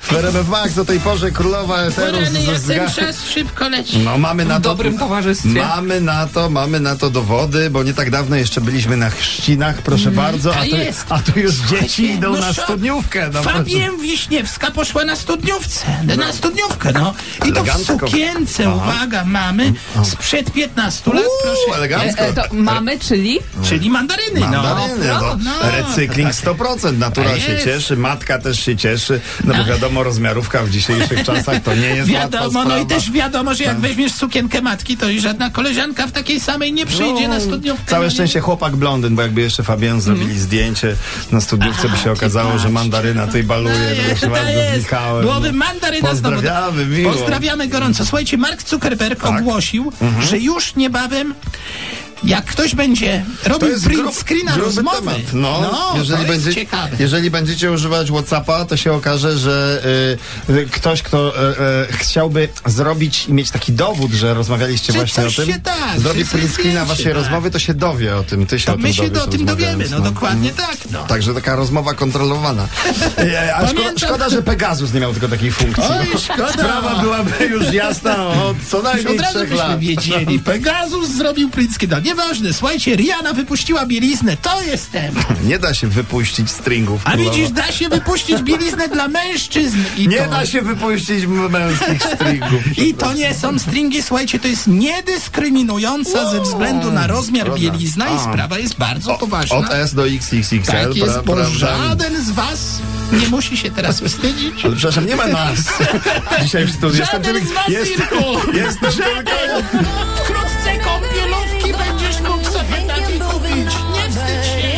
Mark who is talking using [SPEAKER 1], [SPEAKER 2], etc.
[SPEAKER 1] W RMF Max o tej porze królowa eteru z-
[SPEAKER 2] Rany,
[SPEAKER 1] z-
[SPEAKER 2] jak ten
[SPEAKER 1] zga-
[SPEAKER 2] czas szybko leci.
[SPEAKER 1] No mamy na
[SPEAKER 3] W
[SPEAKER 1] to
[SPEAKER 3] dobrym towarzystwie.
[SPEAKER 1] Mamy na to, mamy na to dowody, bo nie tak dawno jeszcze byliśmy na chrzcinach, proszę bardzo, a
[SPEAKER 2] Mm, a
[SPEAKER 1] tu,
[SPEAKER 2] jest.
[SPEAKER 1] a tu już dzieci
[SPEAKER 2] Słuchajcie,
[SPEAKER 1] idą
[SPEAKER 2] no
[SPEAKER 1] na
[SPEAKER 2] szok.
[SPEAKER 1] studniówkę. No,
[SPEAKER 2] Fabian Wiśniewska poszła na studniówce, na studniówkę, no. I to w
[SPEAKER 1] Elegancko. Mhm.
[SPEAKER 2] sukience, uwaga, mamy sprzed 15 lat,
[SPEAKER 1] Uuu,
[SPEAKER 2] proszę.
[SPEAKER 3] E,
[SPEAKER 1] no, elegancko.
[SPEAKER 3] e, to mamy, czyli?
[SPEAKER 2] Czyli mandaryny,
[SPEAKER 1] Mandaryny,
[SPEAKER 2] no.
[SPEAKER 1] no.
[SPEAKER 2] No.
[SPEAKER 1] Recykling 100%. Natura
[SPEAKER 2] A
[SPEAKER 1] się
[SPEAKER 2] jest.
[SPEAKER 1] cieszy, matka też się cieszy. No bo wiadomo, rozmiarówka w dzisiejszych czasach to nie jest łatwa
[SPEAKER 2] Wiadomo,
[SPEAKER 1] sprawa. Tak.
[SPEAKER 2] no i też wiadomo, że jak weźmiesz sukienkę matki, to i żadna koleżanka w takiej samej nie przyjdzie
[SPEAKER 1] No,
[SPEAKER 2] na studniówkę. no
[SPEAKER 1] Całe
[SPEAKER 2] nie?
[SPEAKER 1] szczęście chłopak blondyn, bo jakby jeszcze Fabian zrobili zdjęcie na studniówce, by się
[SPEAKER 2] Mhm. A,
[SPEAKER 1] okazało, że
[SPEAKER 2] patrz.
[SPEAKER 1] mandaryna tej baluje.
[SPEAKER 2] No
[SPEAKER 1] proszę
[SPEAKER 2] to
[SPEAKER 1] bardzo, No.
[SPEAKER 2] jest.
[SPEAKER 1] znikałem.
[SPEAKER 2] Byłoby mandaryna znowu.
[SPEAKER 1] Pozdrawiamy, miło. Tak.
[SPEAKER 2] Pozdrawiamy gorąco. Słuchajcie, Mark Zuckerberg ogłosił,
[SPEAKER 1] Mhm.
[SPEAKER 2] że już niebawem jak ktoś będzie robił print
[SPEAKER 1] grub-
[SPEAKER 2] screena
[SPEAKER 1] gruby
[SPEAKER 2] rozmowy,
[SPEAKER 1] temat. No, jeżeli,
[SPEAKER 2] to jest
[SPEAKER 1] będzie,
[SPEAKER 2] ciekawe.
[SPEAKER 1] jeżeli będziecie używać Whatsappa, to się okaże, że y, y, ktoś, kto y, y, chciałby zrobić i mieć taki dowód, że rozmawialiście
[SPEAKER 2] Czy
[SPEAKER 1] właśnie o
[SPEAKER 2] coś
[SPEAKER 1] tym,
[SPEAKER 2] się da,
[SPEAKER 1] zrobi
[SPEAKER 2] że coś
[SPEAKER 1] print screena
[SPEAKER 2] zdjęcie,
[SPEAKER 1] waszej
[SPEAKER 2] tak.
[SPEAKER 1] rozmowy, to się dowie o tym. Ty się
[SPEAKER 2] To
[SPEAKER 1] o tym
[SPEAKER 2] my się
[SPEAKER 1] dowiesz,
[SPEAKER 2] do tym dowiemy,
[SPEAKER 1] rozmawiając,
[SPEAKER 2] no dokładnie tak. No.
[SPEAKER 1] Także taka rozmowa kontrolowana. E, a szkoda,
[SPEAKER 2] Pamiętam-
[SPEAKER 1] szkoda, że Pegasus nie miał tylko takiej funkcji.
[SPEAKER 2] Oj, szkoda.
[SPEAKER 1] Sprawa byłaby już jasna od co najmniej
[SPEAKER 2] Od razu
[SPEAKER 1] trzech
[SPEAKER 2] byśmy
[SPEAKER 1] lat.
[SPEAKER 2] wiedzieli. Pegasus zrobił print screena. Nieważne, słuchajcie, Rihanna wypuściła bieliznę. To jest temat.
[SPEAKER 1] Nie da się wypuścić stringów.
[SPEAKER 2] A
[SPEAKER 1] królowa.
[SPEAKER 2] widzisz, da się wypuścić bieliznę dla mężczyzn. I
[SPEAKER 1] no. Nie
[SPEAKER 2] to...
[SPEAKER 1] da się wypuścić m- męskich stringów.
[SPEAKER 2] I to nie są stringi, słuchajcie, to jest niedyskryminująca ze względu na rozmiar
[SPEAKER 1] Dobra.
[SPEAKER 2] bielizna i
[SPEAKER 1] A.
[SPEAKER 2] sprawa jest bardzo poważna.
[SPEAKER 1] Od S do XXXL,
[SPEAKER 2] tak jest,
[SPEAKER 1] pra-
[SPEAKER 2] bo
[SPEAKER 1] prawda?
[SPEAKER 2] żaden z was nie musi się teraz wstydzić.
[SPEAKER 1] Ale przepraszam, nie ma nas dzisiaj w studiu. Jestem
[SPEAKER 2] Żaden
[SPEAKER 1] tylko,
[SPEAKER 2] z was,
[SPEAKER 1] jest,
[SPEAKER 2] Irku!
[SPEAKER 1] jestem tylko
[SPEAKER 2] Wkrótce kąpielówki będziesz mógł sobie takie kupić. Nie wstydź się!